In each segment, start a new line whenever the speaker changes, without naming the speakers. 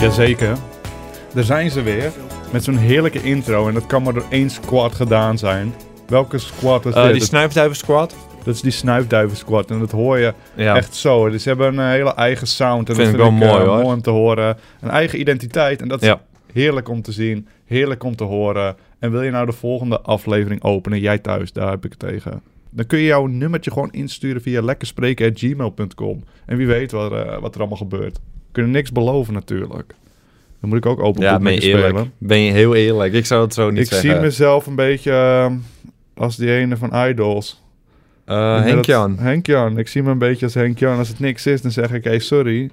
Jazeker. Daar zijn ze weer. Met zo'n heerlijke intro. En dat kan maar door één squad gedaan zijn. Welke squad is
Eh,
dit?
die
dat,
snuifduiven squad.
dat is die snuifduiven squad. En dat hoor je
Ja.
echt zo. Dus ze hebben een eh, hele eigen sound. En
Vind
dat
ik wel
eh,
mooi, hoor.
om te horen. Een eigen identiteit. En dat is
Ja.
heerlijk om te zien. Heerlijk om te horen. En wil je nou de volgende aflevering openen? Jij thuis, daar heb ik het tegen. Dan kun je jouw nummertje gewoon insturen via lekkerspreken.gmail.com. En wie weet wat, eh, wat er allemaal gebeurt. We kunnen niks beloven natuurlijk. Dan moet ik ook open
Ja,
boek
ben
met
je
je
eerlijk.
spelen.
Ben je heel eerlijk. Ik zou het zo niet
Ik
zeggen.
zie mezelf een beetje eh, als die ene van Idols.
Eh,
Ik ben
Henk
dat-
Jan.
Henk Jan. Ik zie me een beetje als Henk Jan. Als het niks is, dan zeg ik, hey, sorry.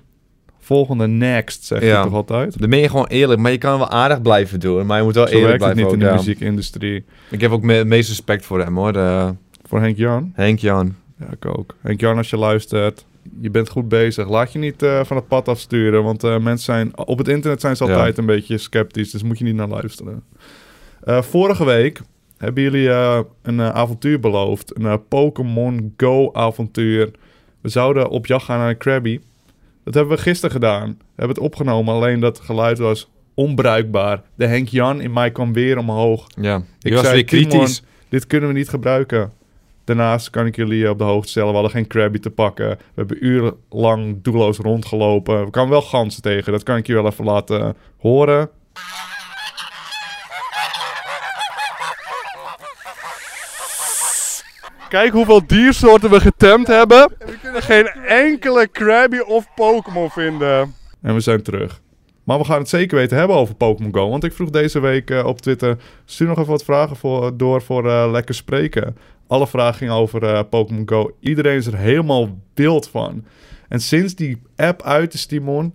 Volgende next, zeg
Ja.
je toch altijd?
Dan ben je gewoon eerlijk. Maar je kan wel aardig blijven doen. Maar je moet wel
Zo
eerlijk
werkt het
blijven
niet
ook,
in de
ja.
muziekindustrie.
Ik heb ook me- het meest respect voor hem hoor. eh,
Voor Henk Jan?
Henk Jan.
Ja, ik ook. Henk Jan, als je luistert, je bent goed bezig. Laat je niet eh, van het pad afsturen, want eh, mensen zijn... Op het internet zijn ze
Ja.
altijd een beetje sceptisch, dus moet je niet naar luisteren. Eh, vorige week hebben jullie eh, een eh, avontuur beloofd. Een eh, Pokémon Go avontuur. We zouden op jacht gaan naar een Krabby. Dat hebben we gisteren gedaan. We hebben het opgenomen, alleen dat geluid was onbruikbaar. De Henk Jan in mij kwam weer omhoog.
Ja.
Ik
Ik was
zei,
weer kritisch.
Dit kunnen we niet gebruiken. Daarnaast kan ik jullie op de hoogte stellen. We hadden geen Krabby te pakken. We hebben urenlang doelloos rondgelopen. We kwamen wel ganzen tegen. Dat kan ik je wel even laten horen. Kijk hoeveel diersoorten we getemd hebben. We kunnen geen enkele Krabby of Pokémon vinden. En we zijn terug. Maar we gaan het zeker weten hebben over Pokémon Go. Want ik vroeg deze week eh, op Twitter... Stuur nog even wat vragen voor, door voor eh, Lekker Spreken. Alle vragen gingen over eh, Pokémon Go. Iedereen is er helemaal wild van. En sinds die app uit is, Timon,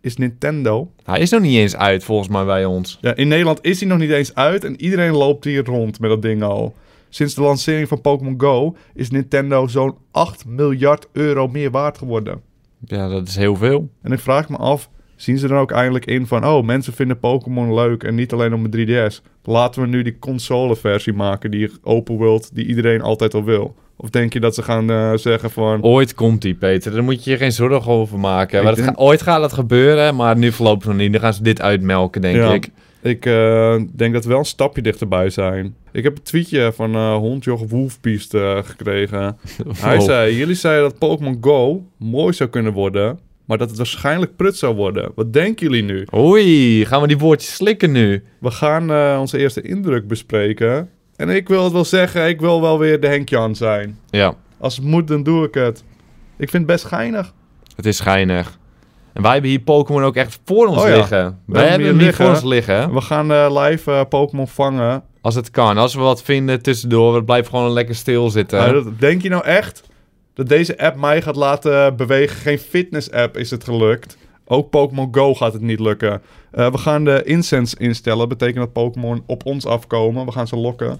is Nintendo...
Hij is nog niet eens uit volgens mij bij ons.
Ja, in Nederland is die nog niet eens uit en iedereen loopt hier rond met dat ding al. Sinds de lancering van Pokémon Go is Nintendo zo'n 8 miljard euro meer waard geworden.
Ja, dat is heel veel.
En ik vraag me af, zien ze er ook eindelijk in van... oh, mensen vinden Pokémon leuk en niet alleen op mijn 3DS. Laten we nu die consoleversie maken, die open world, die iedereen altijd al wil. Of denk je dat ze gaan eh, zeggen van...
Ooit komt die, Peter. Daar moet je je geen zorgen over maken.
Ik
Want het
denk-
ga- ooit gaat dat gebeuren, maar nu voorlopig nog niet. Dan gaan ze dit uitmelken, denk
Ja.
ik.
Ik eh, denk dat we wel een stapje dichterbij zijn. Ik heb een tweetje van eh Hondjog Wolfbeast eh, gekregen. Hij
Oh.
zei, jullie zeiden dat Pokémon Go mooi zou kunnen worden... maar dat het waarschijnlijk prut zou worden. Wat denken jullie nu?
Oei, gaan we die woordjes slikken nu?
We gaan eh, onze eerste indruk bespreken. En ik wil het wel zeggen, ik wil wel weer de Henk Jan zijn.
Ja,
Als het moet, dan doe ik het. Ik vind het best geinig.
het is schijnig. En wij hebben hier Pokémon ook echt voor ons
Oh ja.
liggen.
hebben
Wij hebben
hier
hem niet
liggen.
voor ons liggen.
We gaan eh, live eh, Pokémon vangen.
Als het kan. Als we wat vinden tussendoor, we blijven gewoon lekker stilzitten.
Maar dat- denk je nou echt dat deze app mij gaat laten bewegen? Geen fitness-app is het gelukt. Ook Pokémon Go gaat het niet lukken. Eh, we gaan de incense instellen. Betekent dat Pokémon op ons afkomen. We gaan ze lokken.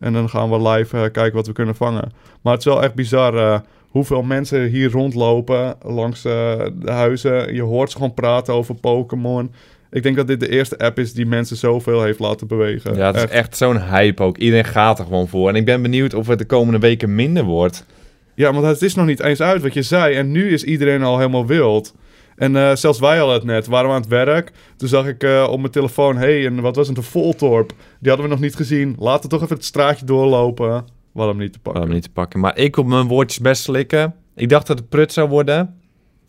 En dan gaan we live eh, kijken wat we kunnen vangen. Maar het is wel echt bizar eh, hoeveel mensen hier rondlopen langs eh, de huizen. Je hoort ze gewoon praten over Pokémon. Ik denk dat dit de eerste app is die mensen zoveel heeft laten bewegen.
Ja, het is
Echt.
echt zo'n hype ook. Iedereen gaat er gewoon voor. En ik ben benieuwd of het de komende weken minder wordt.
Ja, want het is nog niet eens uit wat je zei. En nu is iedereen al helemaal wild. En eh, zelfs wij al het net. Waren we aan het werk. Toen zag ik eh, op mijn telefoon... Hé, hey, en wat was het? Een Voltorp. Die hadden we nog niet gezien. Laten we toch even het straatje doorlopen. We hadden hem niet te
We
pakken.
hem niet te pakken. Maar ik op mijn woordjes best slikken. Ik dacht dat het prut zou worden.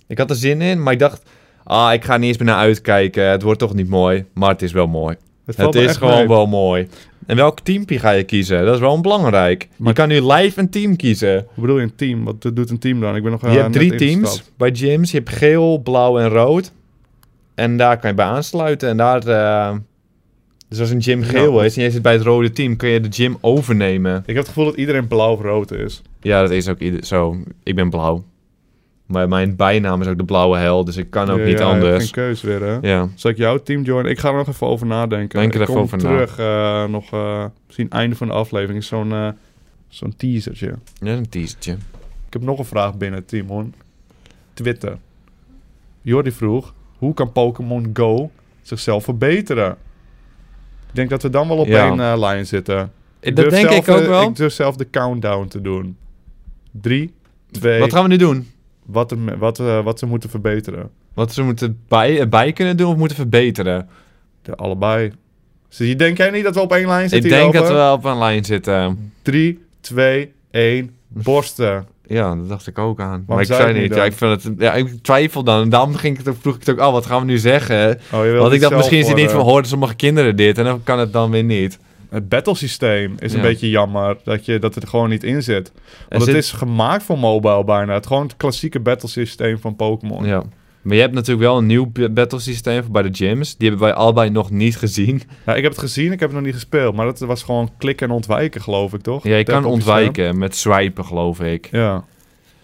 Ik had er zin in, maar ik dacht... Ah, ik ga niet eens meer naar uitkijken. Het wordt toch niet mooi. Maar het is wel mooi.
valt
Het
me
is
echt
gewoon
mee.
wel mooi. En welk teampje ga je kiezen? Dat is wel belangrijk.
Maar-
Je kan nu live een team kiezen.
Hoe bedoel je een team? Wat doet een team dan? Ik ben nog eh,
je hebt
net
drie teams
ingestapt.
bij gyms. Je hebt geel, blauw en rood. En daar kan je bij aansluiten. En daar... eh, dus als een gym geel
Ja.
is en je zit bij het rode team, kun je de gym overnemen.
Ik heb het gevoel dat iedereen blauw of rood is.
Ja, dat is ook ieder- zo. Ik ben blauw. Maar mijn bijnaam is ook de blauwe hel, dus ik kan ook
Ja,
niet
ja, ik heb
anders.
Geen keus weer, hè?
Ja.
Zal ik jouw team joinen? Ik ga er nog even over nadenken.
Denk er
ik
even
kom
over na.
terug eh, nog eh, misschien einde van de aflevering. Is Zo'n eh, zo'n teasertje.
ja, een teasertje.
Ik heb nog een vraag binnen, Timon. Twitter. Jordi vroeg, hoe kan Pokémon Go zichzelf verbeteren? Ik denk dat we dan wel op
Ja.
één eh, lijn zitten.
Dat
durf
denk
zelf,
ik ook
eh,
wel.
Ik durf zelf de countdown te doen. Drie, twee,
Wat
wat,
gaan we nu doen?
er me- wat, eh, wat ze moeten verbeteren.
Wat ze moeten bij, erbij kunnen doen of moeten verbeteren.
De allebei. Zie je, denk jij niet dat eh, we op één lijn
Ik
zitten
denk dat
hierover?
we wel op een lijn zitten.
3, 2, 1, borsten.
Ja, dat dacht ik ook aan. maar ik
zei
zei
het niet
niet.
dan?
Ja, ik, vind het, ja, ik twijfel dan. En daarom ging ik het ook, vroeg ik het ook, oh, wat gaan we nu zeggen?
Oh, je wilt
Want ik
het
dacht,
zelf
misschien is het niet van,
worden.
horen sommige kinderen dit? En dan kan het dan weer niet.
Het battlesysteem is een
Ja.
beetje jammer dat, je, dat het er gewoon niet in zit.
Er
Want
zit-
het is gemaakt voor mobile bijna. Het gewoon het klassieke battlesysteem van Pokémon.
Ja. Maar je hebt natuurlijk wel een nieuw b- battlesysteem voor bij de gyms. Die hebben wij allebei nog niet gezien.
Ja, ik heb het gezien, ik heb het nog niet gespeeld. Maar dat was gewoon klikken en ontwijken, geloof ik, toch?
Ja, je kan
Battlesysteem.
ontwijken met swipen, geloof ik.
Ja.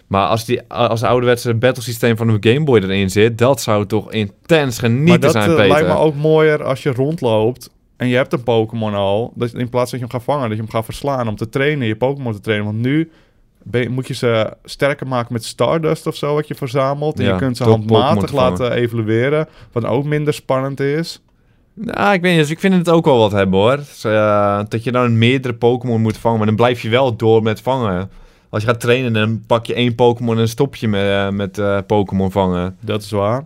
Maar als, die, als het ouderwetse battlesysteem van de Game Boy erin zit... dat zou toch intens
maar
genieten
dat
zijn,
eh,
Peter.
lijkt me ook mooier als je rondloopt en je hebt een Pokémon al. Dat je- in plaats dat je hem gaat vangen, dat je hem gaat verslaan om te trainen, je Pokémon te trainen. Want nu ben je- moet je ze sterker maken met Stardust of zo, wat je verzamelt. En
Ja,
je kunt ze
door Pokémon
handmatig
te vangen.
laten evolueren, wat ook minder spannend is.
Nou, ik weet niet. Dus ik vind het ook wel wat hebben, hoor. Dus, eh, dat je dan meerdere Pokémon moet vangen. Maar dan blijf je wel door met vangen. Als je gaat trainen, dan pak je één Pokémon... en stop je met, eh, met eh, Pokémon vangen.
Dat is waar.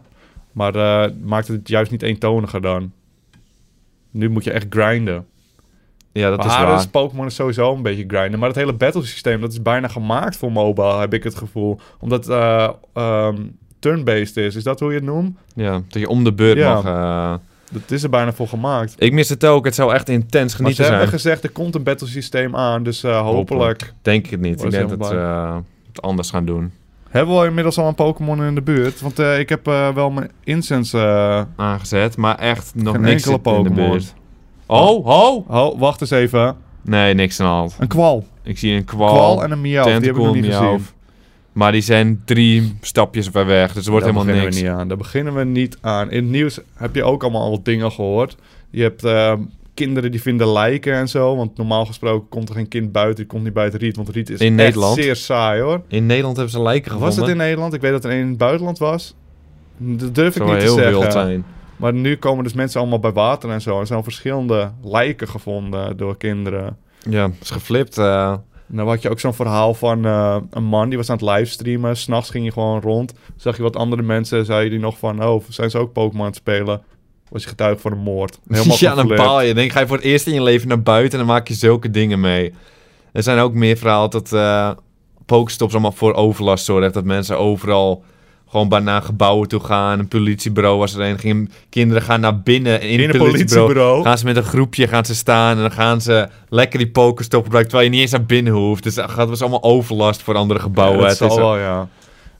Maar eh, maakt het juist niet eentoniger dan. Nu moet je echt grinden.
Ja, dat
Dat
is waar.
is Pokémon is sowieso een beetje grinden. Maar het hele battlesysteem, dat is bijna gemaakt voor mobile, heb ik het gevoel. Omdat eh ehm, turn-based is. Is dat hoe je het noemt?
Ja, dat je om de beurt
Ja.
mag... eh,
Dat is er bijna voor gemaakt.
Ik mis het ook. Het zou echt intens
Maar ze
genieten zijn.
hebben gezegd, er komt een battlesysteem aan. Dus eh, hopelijk.
Hopelijk. Denk ik het niet.
Was
Ik denk dat
helemaal
ze eh, het anders gaan doen.
Hebben we inmiddels al een Pokémon in de buurt? Want eh, ik heb eh, wel mijn incense... eh,
Aangezet. Maar echt nog
Geen
niks
enkele
zit in de
Pokémon.
buurt. Oh, oh!
Oh, wacht eens even.
Nee, niks aan de hand.
Een kwal.
Ik zie een kwal.
kwal en een Oh. miauw. Die heb ik nog
tentacle,
niet
Meowth.
gezien.
Maar die zijn drie stapjes ver weg. Dus er wordt
Daar
helemaal
beginnen
niks.
We niet aan. Daar beginnen we niet aan. In het nieuws heb je ook allemaal wat dingen gehoord. Je hebt eh, kinderen die vinden lijken en zo. Want normaal gesproken komt er geen kind buiten. Die komt niet buiten riet. Want riet is
In
echt
Nederland?
zeer saai hoor.
In Nederland hebben ze lijken
Was
gevonden.
het in Nederland? Ik weet dat er een in het buitenland was. Dat durf ik
Zou wel
niet te
heel wild
zeggen.
zijn.
Maar nu komen dus mensen allemaal bij water en zo. Er zijn verschillende lijken gevonden door kinderen.
Ja, is geflipt. eh.
Nou had je ook zo'n verhaal van eh, een man die was aan het livestreamen. S'nachts ging je gewoon rond. Zag je wat andere mensen, zei die nog van... Oh, zijn ze ook Pokémon aan het spelen? Was je getuige van een moord. Helemaal
ja, dan
geflirt.
paal je. Denk, ga je voor het eerst in je leven naar buiten en dan maak je zulke dingen mee. Er zijn ook meer verhalen dat eh pokestops allemaal voor overlast zorgen. Dat mensen overal gewoon bijna gebouwen toe gaan. Een politiebureau was er een. Gingen, kinderen gaan naar binnen in,
In
het
een
politiebureau.
politiebureau.
Gaan ze met een groepje gaan ze staan en dan gaan ze lekker die pokestop gebruiken. Terwijl je niet eens naar binnen hoeft. Dus dat was allemaal overlast voor andere gebouwen.
Ja, dat
het is
zal
wel,
wel, ja.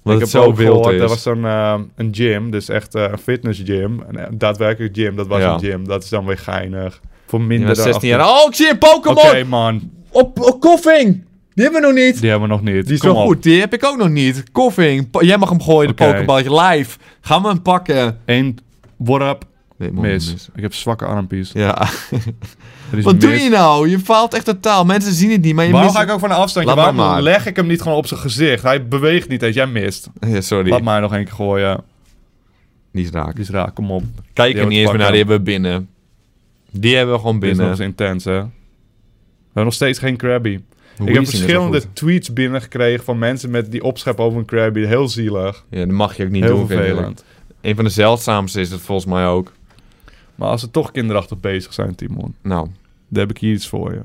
want het
ik
zo
heb ook
wild
gehoord,
is.
er was een, eh, een gym. Dus echt eh, een fitness gym. Een eh, daadwerkelijk gym. Dat was
Ja.
een gym. Dat is dan weer geinig. Voor
Die
minder
was
dan
16
18.
jaar. Oh, ik zie een Pokémon!
Oké, man.
Op, op koffing! Die hebben we nog niet.
Die hebben we nog niet.
Die is
Kom
wel
op.
goed. Die heb ik ook nog niet. Koffing. Pa- Jij mag hem gooien,
Oké.
de pokeballetje. Live. Ga me hem pakken.
Eén worp.
Nee,
Mis. Ik heb zwakke armpies.
Ja.
Er is
Wat doe
mis.
je nou? Je faalt echt totaal. Mensen zien het niet, maar je
Waarom
mist...
ga ik ook van een afstandje?
Laat maar
Waarom
maar.
leg ik hem niet gewoon op zijn gezicht? Hij beweegt niet eens. Jij mist.
Ja, sorry.
Laat mij nog één keer gooien.
Niet raak.
Die is raak, kom op. Die
Kijk er
hebben
niet
we
eens
te
meer naar. Die
pakken.
hebben we binnen. Die hebben we gewoon
Dit is nog
binnen.
eens intens, hè? We hebben nog steeds geen Krabby.
Hoe
ik heb
is die net zo
verschillende
goed?
tweets binnengekregen van mensen met die opschep over een Krabby. Heel zielig.
Ja, dat mag je ook niet
heel
doen. vind ik.
vervelend.
Een van de zeldzaamste is dat volgens mij ook.
Maar als ze toch kinderachtig bezig zijn, Timon,
Nou,
dan heb ik hier iets voor je.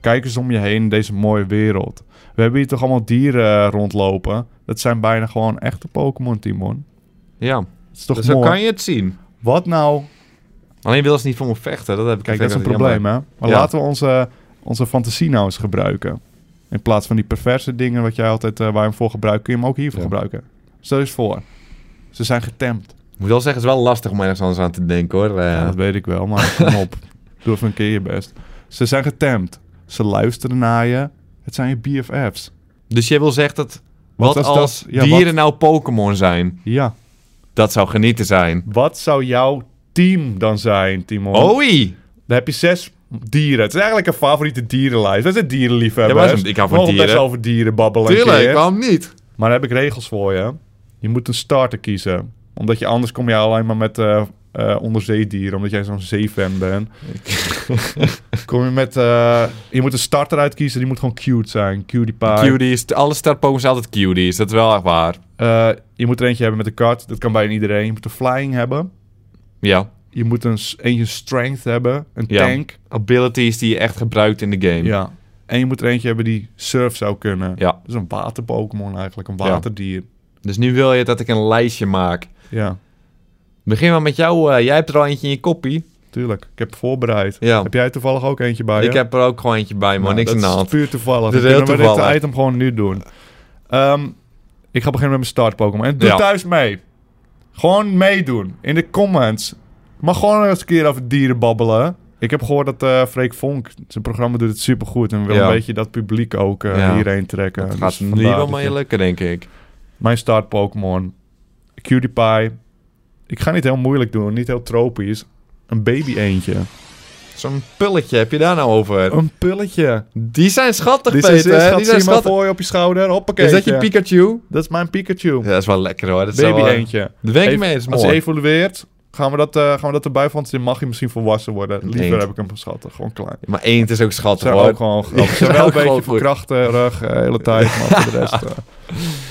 Kijk eens om je heen in deze mooie wereld. We hebben hier toch allemaal dieren eh, rondlopen? Dat zijn bijna gewoon echte Pokémon, Timon.
ja.
Dat is toch
dus zo
mooi?
kan je het zien.
Wat nou
Alleen wil ze niet voor me vechten. Dat heb ik
Kijk, dat
vind
is een
ik jammer.
probleem, hè? Maar
Ja.
laten we onze, onze fantasie nou eens gebruiken. In plaats van die perverse dingen wat jij altijd, eh, waar je hem voor gebruikt, kun je hem ook hiervoor
Ja.
gebruiken. Stel eens voor. Ze zijn getemd.
Ik moet wel zeggen, het is wel lastig om ergens anders aan te denken hoor. Eh,
Ja, dat weet ik wel, maar kom op. Doe even een keer je best. Ze zijn getemd. Ze luisteren naar je. Het zijn je BFF's.
Dus jij wil zeggen dat wat,
als dat-
als
ja,
dieren nou Pokémon zijn?
Ja.
Dat zou genieten zijn.
Wat zou jouw team dan zijn, Timon?
Oei!
Dan heb je zes dieren. Het is eigenlijk een favoriete dierenlijst. Dat is een dierenliefhebber.
Ja, maar ik hou van
best
dieren.
over dieren babbelen. een keer.
waarom niet?
Maar daar heb ik regels voor je. Je moet een starter kiezen. Omdat je anders kom je alleen maar met eh, eh, onderzeedieren, omdat jij zo'n zeefan bent. Kom je met... eh, je moet een starter uitkiezen, die moet gewoon cute zijn. Cutie pie.
Cuties, alle startpokers zijn altijd cuties. Dat is wel echt waar.
Eh, je moet er eentje hebben met een kart. Dat kan bijna iedereen. Je moet een flying hebben.
Ja.
Je moet een, s- eentje strength hebben. Een
Ja.
tank.
Abilities die je echt gebruikt in de game.
Ja. En je moet er eentje hebben die surf zou kunnen.
Ja.
Dat is een waterpokémon eigenlijk. Een
Ja.
waterdier.
Dus nu wil je dat ik een lijstje maak.
Ja,
Begin maar met jou. eh, jij hebt er al eentje in je kopie.
tuurlijk. Ik heb voorbereid.
Ja.
Heb jij toevallig ook eentje bij je?
Ik heb er ook gewoon eentje bij,
Nou,
maar niks
dat
aan de
is
hand.
puur toevallig.
Dat is
Dan
heel
kunnen we dit
toevallig.
item gewoon nu doen. Ehm, ik ga beginnen met mijn start Pokémon. En doe
Ja.
thuis mee. Gewoon meedoen. In de comments. Mag gewoon eens een keer over dieren babbelen. Ik heb gehoord dat eh Freek Vonk, zijn programma doet het supergoed. En wil
Ja.
een beetje dat publiek ook eh,
Ja.
hierheen trekken.
Het
Dus
gaat nu
vandaar
wel
dat ik-
mee lukken, denk ik.
Mijn start Pokémon. Cutie Ik ga niet heel moeilijk doen. Niet heel tropisch. Een baby eentje.
Zo'n pulletje heb je daar nou over?
Een pulletje.
Die zijn schattig,
Die zijn
Peter.
schat,
die zijn
zie maar
schattig.
voor je op je schouder. Hoppakee.
Is dat je Pikachu?
Dat is mijn Pikachu.
Ja, dat is wel lekker hoor. Dat is
Baby
wel, eh,
eentje.
Daar ben ik
Even-
mee eens,
Als hij
mooi.
evolueert, gaan we dat, eh, gaan we dat erbij van. Dan mag hij misschien volwassen worden. Liever
Eend.
heb ik hem geschatten. Gewoon klein.
Maar eend is ook
Ze
schattig
zijn
hoor.
ook gewoon grappig. Ze
zijn
zijn wel
ook
een beetje
gewoon goed.
verkrachterig de hele tijd. Maar voor de rest eh,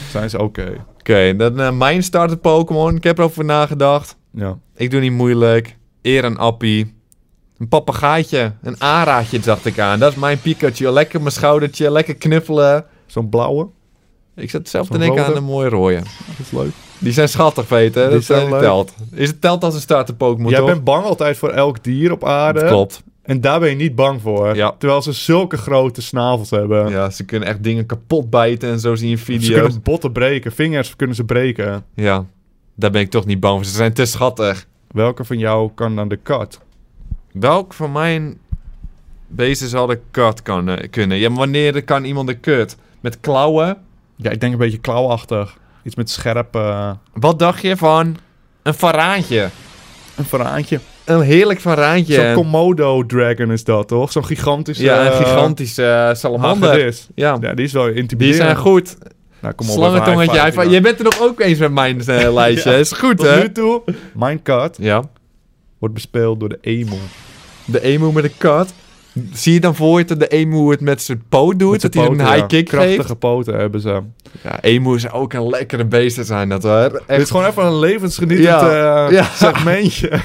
zijn ze oké.
Oké, dan eh, mijn starter Pokémon. Ik heb erover nagedacht.
Ja.
Ik doe niet moeilijk. Eer een appie. Een papegaaitje. Een araatje dacht ik aan. Dat is mijn Pikachu. Lekker mijn schoudertje. Lekker knuffelen.
Zo'n blauwe.
Ik zat zelf te
Zo'n
denken aan
rode?
een mooie rode.
Dat is leuk.
Die zijn schattig, Peter.
Die
Dat
zijn
zijn
leuk.
telt. Is het telt als een starter Pokémon,
Jij
toch?
bent bang altijd voor elk dier op aarde.
Dat klopt.
En daar ben je niet bang voor.
Ja.
Terwijl ze zulke grote snavels hebben.
Ja, ze kunnen echt dingen kapot bijten en zo zie je
Ze
video's.
kunnen botten breken. Vingers kunnen ze breken.
Ja, daar ben ik toch niet bang voor. Ze zijn te schattig.
Welke van jou kan dan de kat?
Welk van mijn beesten zal de kat kan, eh, kunnen? Ja, maar wanneer kan iemand de kut? Met klauwen?
Ja, ik denk een beetje klauwachtig. Iets met scherp... eh,
Wat dacht je van een varaantje?
Een varaantje.
Een heerlijk varaantje.
Zo'n Komodo dragon is dat, toch? Zo'n gigantische...
ja, een
eh,
gigantische eh, salamander.
hagedis.
Ja,
Ja, die is wel
die
intimiderend.
zijn goed.
Nou, kom op,
Slangentongetje,
even high
high
five,
five. Je bent er nog ook eens met mijn eh, lijstje.
Ja.
Is goed,
Tot
hè?
nu toe, mijn kat
Ja.
wordt bespeeld door de emu.
De emu met de kat. Zie je dan voor je dat de emu het met zijn poot doet?
Met de
dat hij
poten,
een high
ja.
kick
Krachtige
geeft?
poten hebben ze.
Ja, emu is ook een lekkere beesten zijn dat hoor.
Dit is
Echt.
gewoon even een levensgenietend
Ja.
eh,
Ja.
segmentje.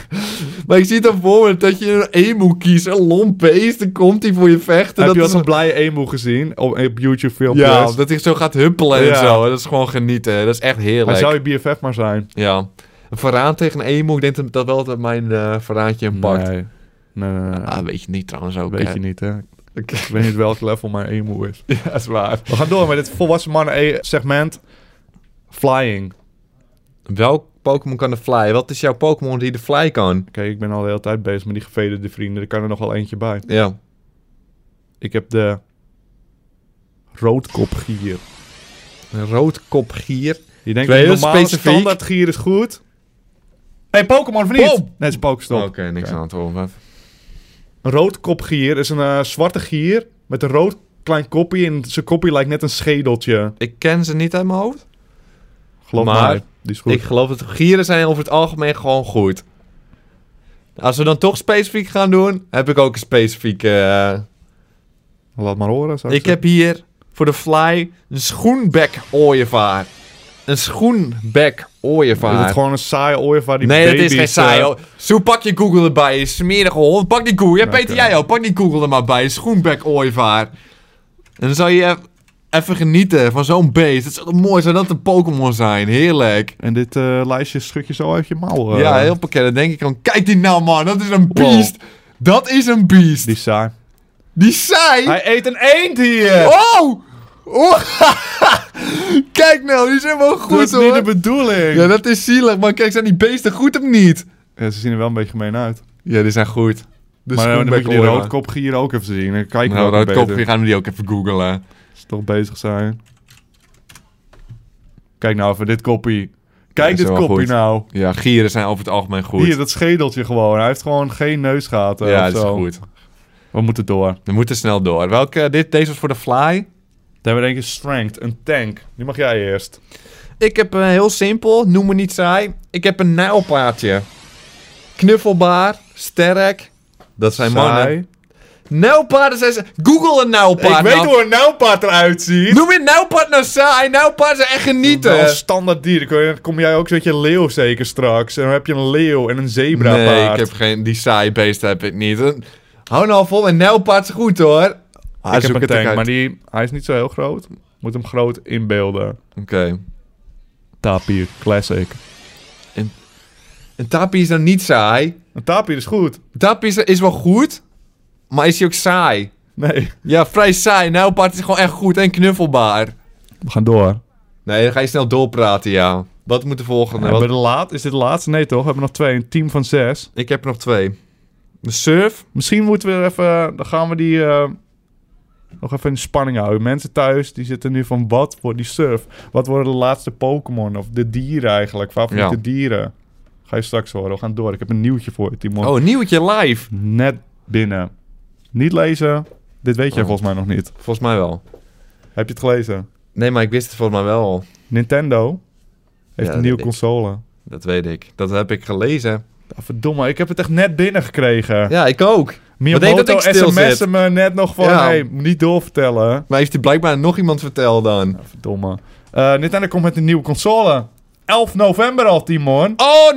Maar ik zie dan voor me dat je een emu kiest, een lomp beest, dan komt hij voor je vechten.
Heb je
dat
al
is
zo'n blije emu gezien op, op YouTube filmpjes?
ja, dat hij zo gaat huppelen en
Ja.
zo. Dat is gewoon genieten. Dat is echt
Hij
heerlijk.
zou je BFF maar zijn.
Ja. Een verraan tegen een emu, ik denk dat dat wel dat mijn eh verraadje hem pakt.
Nee, nee, nee. nee.
Ah, weet je niet trouwens ook.
Weet
hè.
je niet, hè?
Oké.
Ik weet niet welk level mijn emu is.
Ja, dat is waar.
We gaan door met dit volwassen mannen e- segment. Flying. Oké,
Welk Pokémon kan de fly? Wat is jouw Pokémon die de fly kan?
ik ben al de hele tijd bezig met die gevederde vrienden. Er kan er nog wel eentje bij.
Ja.
Ik heb de roodkopgier.
Een roodkopgier.
Je denkt,
Ben je
een
heel
normale
specifiek?
standaard gier is goed. hey, Pokémon of niet?
Boom!
Nee, het is Pokestop.
Oké, niks
Oké.
aan het horen.
Een roodkopgier is een eh, zwarte gier met een rood klein koppie. En zijn koppie lijkt net een schedeltje.
Ik ken ze niet uit mijn hoofd.
Geloof
Maar
mij, die is goed.
Ik geloof dat gieren zijn over het algemeen gewoon goed. Als we dan toch specifiek gaan doen, heb ik ook een specifieke... eh,
Laat maar horen. zou
ik
zeggen.
heb hier voor de fly een schoenbek ooievaar. Een schoenbek
Is het
ooievaar.
gewoon een saaie ooievaar die
Nee, dat
baby's,
is geen saai.
eh,
hoor. Zo, pak je Google erbij, je smerige hond. Pak die Google. Ja,
Oké.
Peter, jij ook. Pak die Google er maar bij. Een Schoenbek ooievaar. En dan zal je eff- even genieten van zo'n beest. Het zou toch mooi zijn dat het een Pokémon zijn. Heerlijk.
En dit eh, lijstje schud je zo uit je mouw. eh.
Ja, heel pakket. Dan denk ik dan, kijk die nou man, dat is een beest. Dat is een
Die
beest. Die,
is saai.
saai.
Hij eet een eend hier!
Oh! oh. kijk nou, die is helemaal
dat
goed
is niet de
hoor.
bedoeling!
Ja, dat is zielig. Maar kijk, zijn die beesten goed of niet?
Ja, ze zien er wel een beetje gemeen uit.
Ja, die zijn goed. De
maar eh, dan moet je die
schoenbekooien.
roodkopgier ook even zien. Dan kijken
Nou,
we ook
roodkop,
beter.
gaan we die ook even googlen.
Als ze toch bezig zijn. Kijk nou even, dit koppie. Kijk
is
dit
wel
koppie
goed.
nou.
Ja, gieren zijn over het algemeen goed.
Hier, dat schedeltje gewoon. Hij heeft gewoon geen neusgaten
ja,
of
dat is
zo.
goed.
We moeten door.
We moeten snel door. Welke, dit, deze was voor de fly.
Dan hebben we denk ik strength, een tank. Die mag jij eerst.
Ik heb eh, heel simpel, noem me niet saai. Ik heb een nijlpaardje. knuffelbaar, sterk. Dat zijn mannen.
Saai.
Nijlpaarden zijn ze... Google een nijlpaard.
Ik weet
nou.
hoe een nauwpaard eruit ziet.
Noem je nijlpaard nou saai. Nijlpaarden zijn echt genieten.
Wel een standaard dier. Dan kom jij ook zo'n beetje leeuw zeker straks. En dan heb je een leeuw en een zebrapaard.
Nee, ik heb geen... Die saaie beesten heb ik niet. Een- Hou nou vol. Een nijlpaard is goed, hoor. Ah,
Ik
zoek
heb een
het
tank,
ook uit.
maar die, hij is niet zo heel groot. Moet hem groot inbeelden.
Oké.
Tapir, classic.
Een tapie is nou niet saai.
Een tapir is goed.
Een tapie is, is wel goed, maar is hij ook saai?
Nee,
Ja, vrij saai. Nijlpaard is gewoon echt goed en knuffelbaar.
we gaan door.
Nee, dan ga je snel doorpraten, ja. Wat moet de volgende? Wat-
Hebben we de laat, is dit de laatste? Nee toch? We hebben nog twee. Een team van zes.
Ik heb er nog twee. De surf.
Misschien moeten we er even... Dan gaan we die... eh, nog even in spanning houden. Mensen thuis, die zitten nu van... Wat wordt die surf? Wat worden de laatste Pokémon? Of de dieren eigenlijk? Favoriete
Ja.
dieren? Ga je straks horen. We gaan door. Ik heb een nieuwtje voor je, Timon.
Oh, een nieuwtje live.
Net binnen. Niet lezen. Dit weet jij
Oh.
volgens mij nog niet.
Volgens mij wel.
Heb je het gelezen?
Nee, maar ik wist het volgens mij wel. al.
Nintendo heeft
Ja,
een nieuwe
dat-
console.
Dat weet ik. Dat heb ik gelezen.
Ah, verdomme, ik heb het echt net binnengekregen.
Ja, ik ook.
Miyamoto
Wat deed dat ik stil
sms'en
zit?
me net nog van...
Ja.
hey, niet doorvertellen.
Maar heeft hij blijkbaar nog iemand verteld dan?
Ah, Verdomme. Eh, Nintendo komt met een nieuwe console. 11 november al, Timon.
Oh,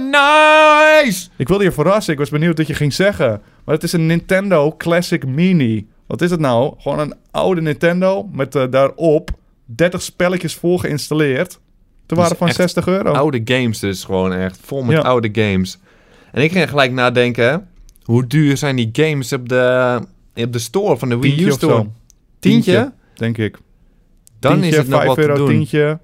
nice!
Ik wilde je verrassen. Ik was benieuwd wat je ging zeggen. Maar het is een Nintendo Classic Mini. Wat is het nou? Gewoon een oude Nintendo met eh, daarop 30 spelletjes voor geïnstalleerd. Te
is
waren van
echt
60 euro.
Oude games dus gewoon echt. Vol met
Oh. Ja.
oude games. En ik ging gelijk nadenken. Hoe duur zijn die games op de, op de store van de Wii U
Tientje of
store?
zo,
Tientje?
Tientje. denk ik.
Dan
Tientje,
is het nog
5
wat
euro,
te doen.
tientje.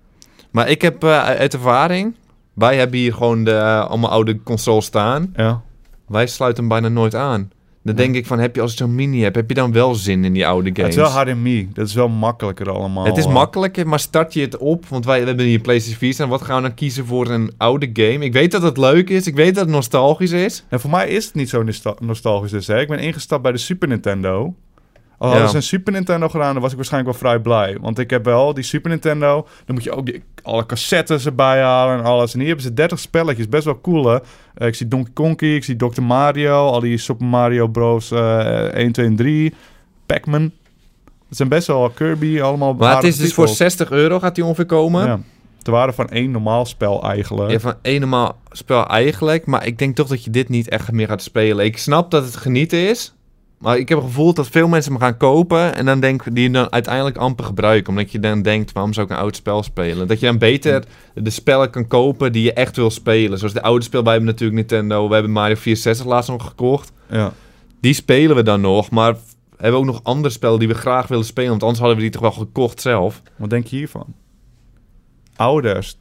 Maar ik heb eh, uit ervaring... Wij hebben hier gewoon de, eh, allemaal oude consoles staan.
Ja.
Wij sluiten hem bijna nooit aan. Dan denk ik van, heb je als ik zo'n mini heb, heb je dan wel zin in die oude
Het
games?
is wel HDMI. Dat is wel makkelijker allemaal.
Het is
eh.
makkelijker, maar start je het op? Want wij we hebben hier PlayStation 4 staan. Wat gaan we dan kiezen voor een oude game? Ik weet dat het leuk is. Ik weet dat het nostalgisch is.
En Nou, voor mij is het niet zo nostal- nostalgisch dus. Hè? Ik ben ingestapt bij de Super Nintendo. Al
Ja.
hadden ze een Super Nintendo gedaan, dan was ik waarschijnlijk wel vrij blij. Want ik heb wel die Super Nintendo. Dan moet je ook die, alle cassettes erbij halen en alles. En hier hebben ze 30 spelletjes. Best wel cool, hè? Eh, ik zie Donkey Kong, ik zie Dr. Mario. Al die Super Mario Bros. eh 1, 2 en 3. Pac-Man. Het zijn best wel Kirby, allemaal
Maar het
aardige
is dus voor
titels.
60 euro gaat die ongeveer komen. Ja.
Ja. Het waren van één normaal spel eigenlijk.
van eenmaal spel eigenlijk. Maar ik denk toch dat je dit niet echt meer gaat spelen. Ik snap dat het genieten is. Maar ik heb het gevoel dat veel mensen hem gaan kopen. En dan denk, die dan uiteindelijk amper gebruiken. Omdat je dan denkt, waarom zou ik een oud spel spelen? Dat je dan beter de spellen kan kopen die je echt wil spelen. Zoals de oude spel. Wij hebben natuurlijk Nintendo. We hebben Mario 64 laatst nog gekocht.
Ja.
Die spelen we dan nog, maar we hebben ook nog andere spellen die we graag willen spelen. Want anders hadden we die toch wel gekocht zelf.
Wat denk je hiervan? Ouders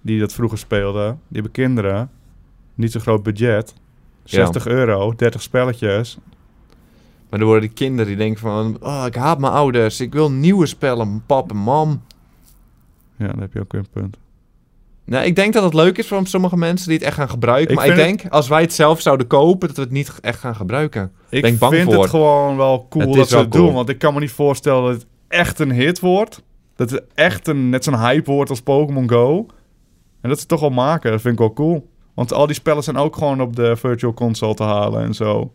die dat vroeger speelden, die hebben kinderen, niet zo'n groot budget. 60 euro, 30 spelletjes.
Maar dan worden die kinderen die denken van... Oh, ik haat mijn ouders. Ik wil nieuwe spellen. Pap en mam.
Ja, dan heb je ook weer een punt.
Nou, ik denk dat het leuk is voor sommige mensen die het echt gaan gebruiken.
Ik
maar ik
vind
denk, als wij het zelf zouden kopen, dat we het niet echt gaan gebruiken.
Ik
Ben ik bang
vind
voor.
het gewoon wel cool
Het is
dat ze
wel
het
cool.
doen. Want ik kan me niet voorstellen dat het echt een hit wordt. Dat het echt een, net zo'n hype wordt als Pokémon Go. En dat ze het toch wel maken, dat vind ik wel cool. Want al die spellen zijn ook gewoon op de Virtual Console te halen en zo.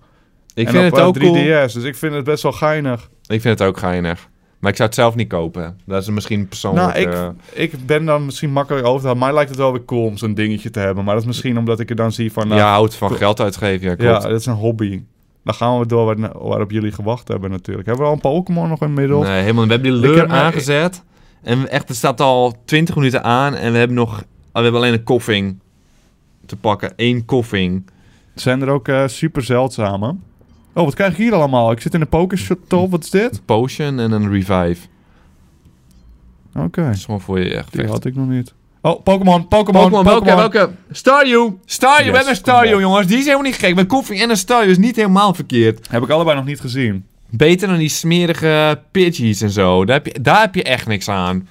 Ik
en
vind
op,
het
eh,
ook
3DS,
cool.
dus ik vind het best wel geinig.
Ik vind het ook geinig. Maar ik zou het zelf niet kopen. Dat is misschien persoonlijk...
Nou, ik-
eh,
Ik ben dan misschien makkelijk over te halen. Mij lijkt het wel weer cool om zo'n dingetje te hebben. Maar dat is misschien omdat ik er dan zie van... nou,
ja, houdt van
Klopt.
geld uitgeven. Ja,
ja,
klopt.
dat is een hobby. Dan gaan we door waar, waarop jullie gewacht hebben natuurlijk. Hebben we al een Pokémon nog inmiddels?
Nee, helemaal. niet. We hebben die
Ik
leur
heb maar-
aangezet. En echt, er staat al 20 minuten aan. En we hebben nog. ah, We hebben alleen een koffing te pakken. Eén koffing.
Zijn er ook eh, super zeldzame? Oh, wat krijg ik hier allemaal? Ik zit in een Pokéstop. Wat is dit?
Een potion en een revive.
Oké,
Dat is gewoon voor je echt.
die had ik nog niet. Oh, Pokémon, Pokémon,
Pokémon, welke,
Pokémon.
welke? Staryu! Staryu,
Yes,
we hebben een
kom
Staryu,
op.
jongens. Die is helemaal niet gek. Met koffie en een Staryu is niet helemaal verkeerd.
Heb ik allebei nog niet gezien.
Beter dan die smerige Pidgeys en zo. Daar heb je, daar heb je echt niks aan. En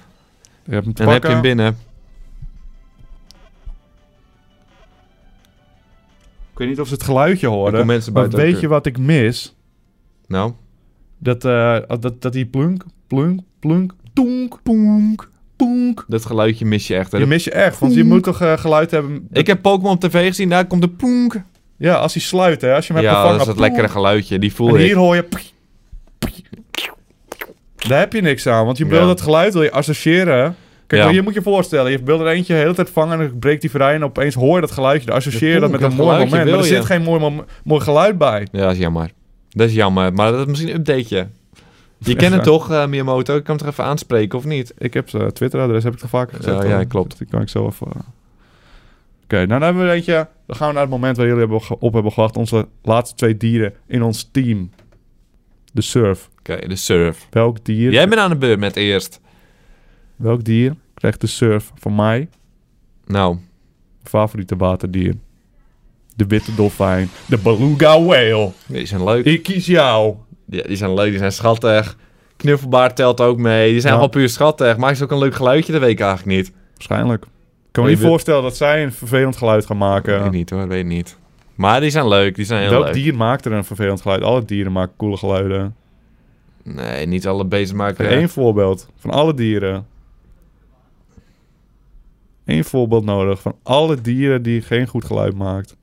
Je hebt hem te
dan heb je
pakken.
hem binnen.
Ik weet niet of ze het geluidje
Er komen
horen.
mensen
Maar
buiten
weet
ook,
je wat ik mis?
eh, Nou.
Dat, eh, dat, dat die plunk, plunk, plunk, toenk, poenk, poenk.
Dat geluidje mis je echt. hè.
Die mis je echt, want je moet toch eh, geluid hebben.
Ik heb Pokémon op tv gezien, daar komt de poenk.
Ja, als hij sluit, hè. Als je hem hebt
Ja,
gevangen...
dat is dat
poeh.
lekkere geluidje. Die voel
En
ik.
hier hoor je... Daar heb je niks aan, want je wil
Ja.
dat geluid wil je associëren. Kijk, oh,
Ja.
je moet je voorstellen, je wil er eentje de hele tijd vangen en dan breekt die vrij en opeens hoor je dat geluidje. Dan associeer je
Ja,
dat met
dat
een mooi
geluidje
moment, maar er
wil je.
zit geen mooi, mom- mooi geluid bij.
Ja, dat is jammer. Dat is jammer. Maar dat is misschien een updateje. Je
Ja.
kent het toch, eh, Miyamoto? Ik kan het er even aanspreken, of niet?
Ik heb zijn Twitter-adres, heb ik toch vaker gezegd?
Ja, ja,
Dan-
klopt.
Die kan ik zo even... eh. Oké, nou dan hebben we er eentje. Dan gaan we naar het moment waar jullie hebben ge- op hebben gewacht. Onze laatste twee dieren in ons team. De surf.
Oké, de surf.
Welk dier,
Jij bent aan de beurt met eerst.
welk dier krijgt de surf van mij?
Nou,
favoriete waterdier? De witte dolfijn. De beluga whale.
die zijn leuk.
Ik kies jou.
Ja, die zijn leuk, die zijn schattig. Knuffelbaard telt ook mee. Die zijn
Ja.
wel gewoon puur schattig. Maakt ze ook een leuk geluidje, dat weet ik eigenlijk niet.
Waarschijnlijk. Ik kan me
Weet
niet
je-
voorstellen dat zij een vervelend geluid gaan
Weet
maken.
ik niet hoor, weet ik niet. Maar die zijn leuk, die zijn heel
Welk
leuk.
dier maakt er een vervelend geluid? Alle dieren maken coole geluiden.
Nee, niet alle beesten maken...
Eén voorbeeld van alle dieren. Eén voorbeeld nodig van alle dieren die geen goed geluid maakt.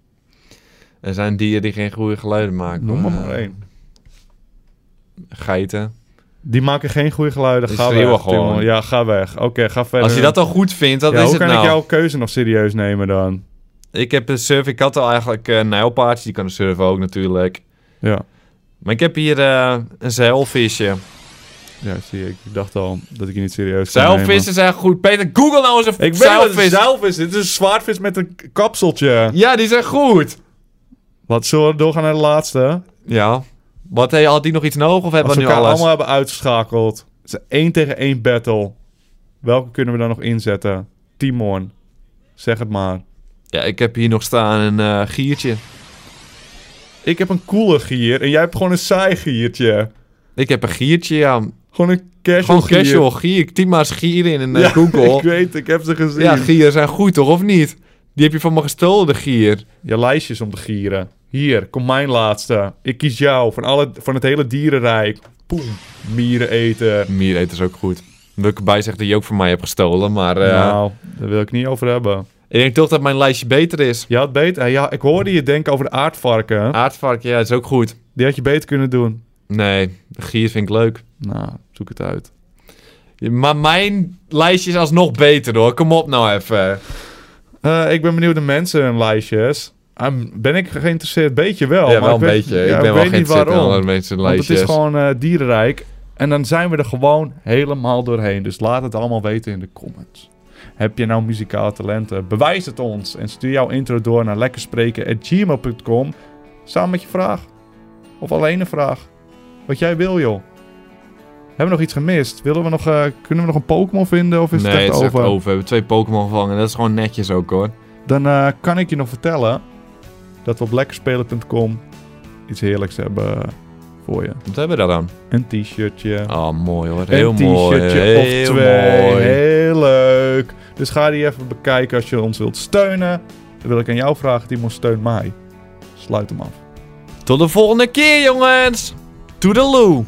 Er zijn dieren die geen goede geluiden maken.
Noem er
hoor. Eh,
maar één.
Geiten.
Die maken geen goede geluiden.
Die
Ga
schreeuwen
weg,
gewoon.
jongen. Ja, ga weg. Oké, ga verder.
Als je dat al goed vindt, dat
eh, ja,
is
hoe
het
kan
nou.
ik jouw keuze nog serieus nemen dan?
Ik heb een surf, ik had al eigenlijk een nijlpaardje, die kan surfen ook natuurlijk.
Ja.
Maar ik heb hier eh, een zeilvisje.
Ja, zie je. Ik dacht al dat ik je niet serieus kon
Zeilvissen zijn goed. Peter, google nou eens een
nemen. Ik weet dat het een
zeilvis.
zeilvis is. Dit is een zwaardvis met een k- kapseltje.
Ja, die zijn goed.
Wat, zullen we doorgaan naar de laatste?
Ja. Wat, hey, had die nog iets nodig of hebben
Als we
we nu
elkaar
alles?
allemaal hebben uitgeschakeld. Het is een 1 tegen 1 battle. Welke kunnen we dan nog inzetten? Timon, zeg het maar.
Ja, ik heb hier nog staan een eh, giertje.
Ik heb een coole gier en jij hebt gewoon een saai giertje.
Ik heb een giertje, ja.
Gewoon een casual
Gewoon
gier.
casual gier. Typ maar eens gier in een eh,
Ja, ik
Google.
weet, ik heb ze gezien.
Ja, gieren zijn goed toch, of niet? Die heb je van me gestolen, de gier.
Je lijstjes om te gieren. Hier, kom mijn laatste. Ik kies jou van, alle, van het hele dierenrijk. Poem, miereneter.
Miereet is ook goed. Wil ik erbij zeggen dat je ook van mij hebt gestolen, maar... eh,
Nou, daar wil ik niet over hebben.
Ik denk toch dat mijn lijstje beter is.
Je had beter... Ja, ik hoorde je denken over de aardvarken.
Aardvark, ja, is ook goed.
Die had je beter kunnen doen.
Nee, de gier vind ik leuk.
Nou, zoek het uit.
Maar mijn lijstje is alsnog beter hoor. Kom op nou even.
Oh, Eh, ik ben benieuwd naar mensen en lijstjes. Ah, ben ik geïnteresseerd? Beetje wel.
ja,
maar
wel een
ik weet-
beetje.
ja,
ik ben wel
weet niet
geïnteresseerd in
waarom.
andere mensen
Want het
lijstjes.
is gewoon eh, dierenrijk. En dan zijn we er gewoon helemaal doorheen. Dus laat het allemaal weten in de comments. Heb je nou muzikale talenten? Bewijs het ons. En stuur jouw intro door naar lekkerspreken.gmail.com. Samen met je vraag. Of alleen een vraag. Wat jij wil, joh. Hebben we nog iets gemist? Willen we nog, eh, kunnen we nog een Pokémon vinden? Of is
nee,
het echt over?
over. We hebben twee Pokémon gevangen. Dat is gewoon netjes ook hoor.
Dan eh, kan ik je nog vertellen dat we op lekkerspelen.com iets heerlijks hebben voor je.
Wat hebben we daar dan?
Een t-shirtje.
Oh, mooi hoor. Heel
een
mooi.
t-shirtje
Heel
of twee.
mooi.
Heel leuk. Dus ga die even bekijken als je ons wilt steunen. Dan wil ik aan jou vragen, Timon, steun mij. Sluit hem af.
Tot de volgende keer jongens. Toedeloe.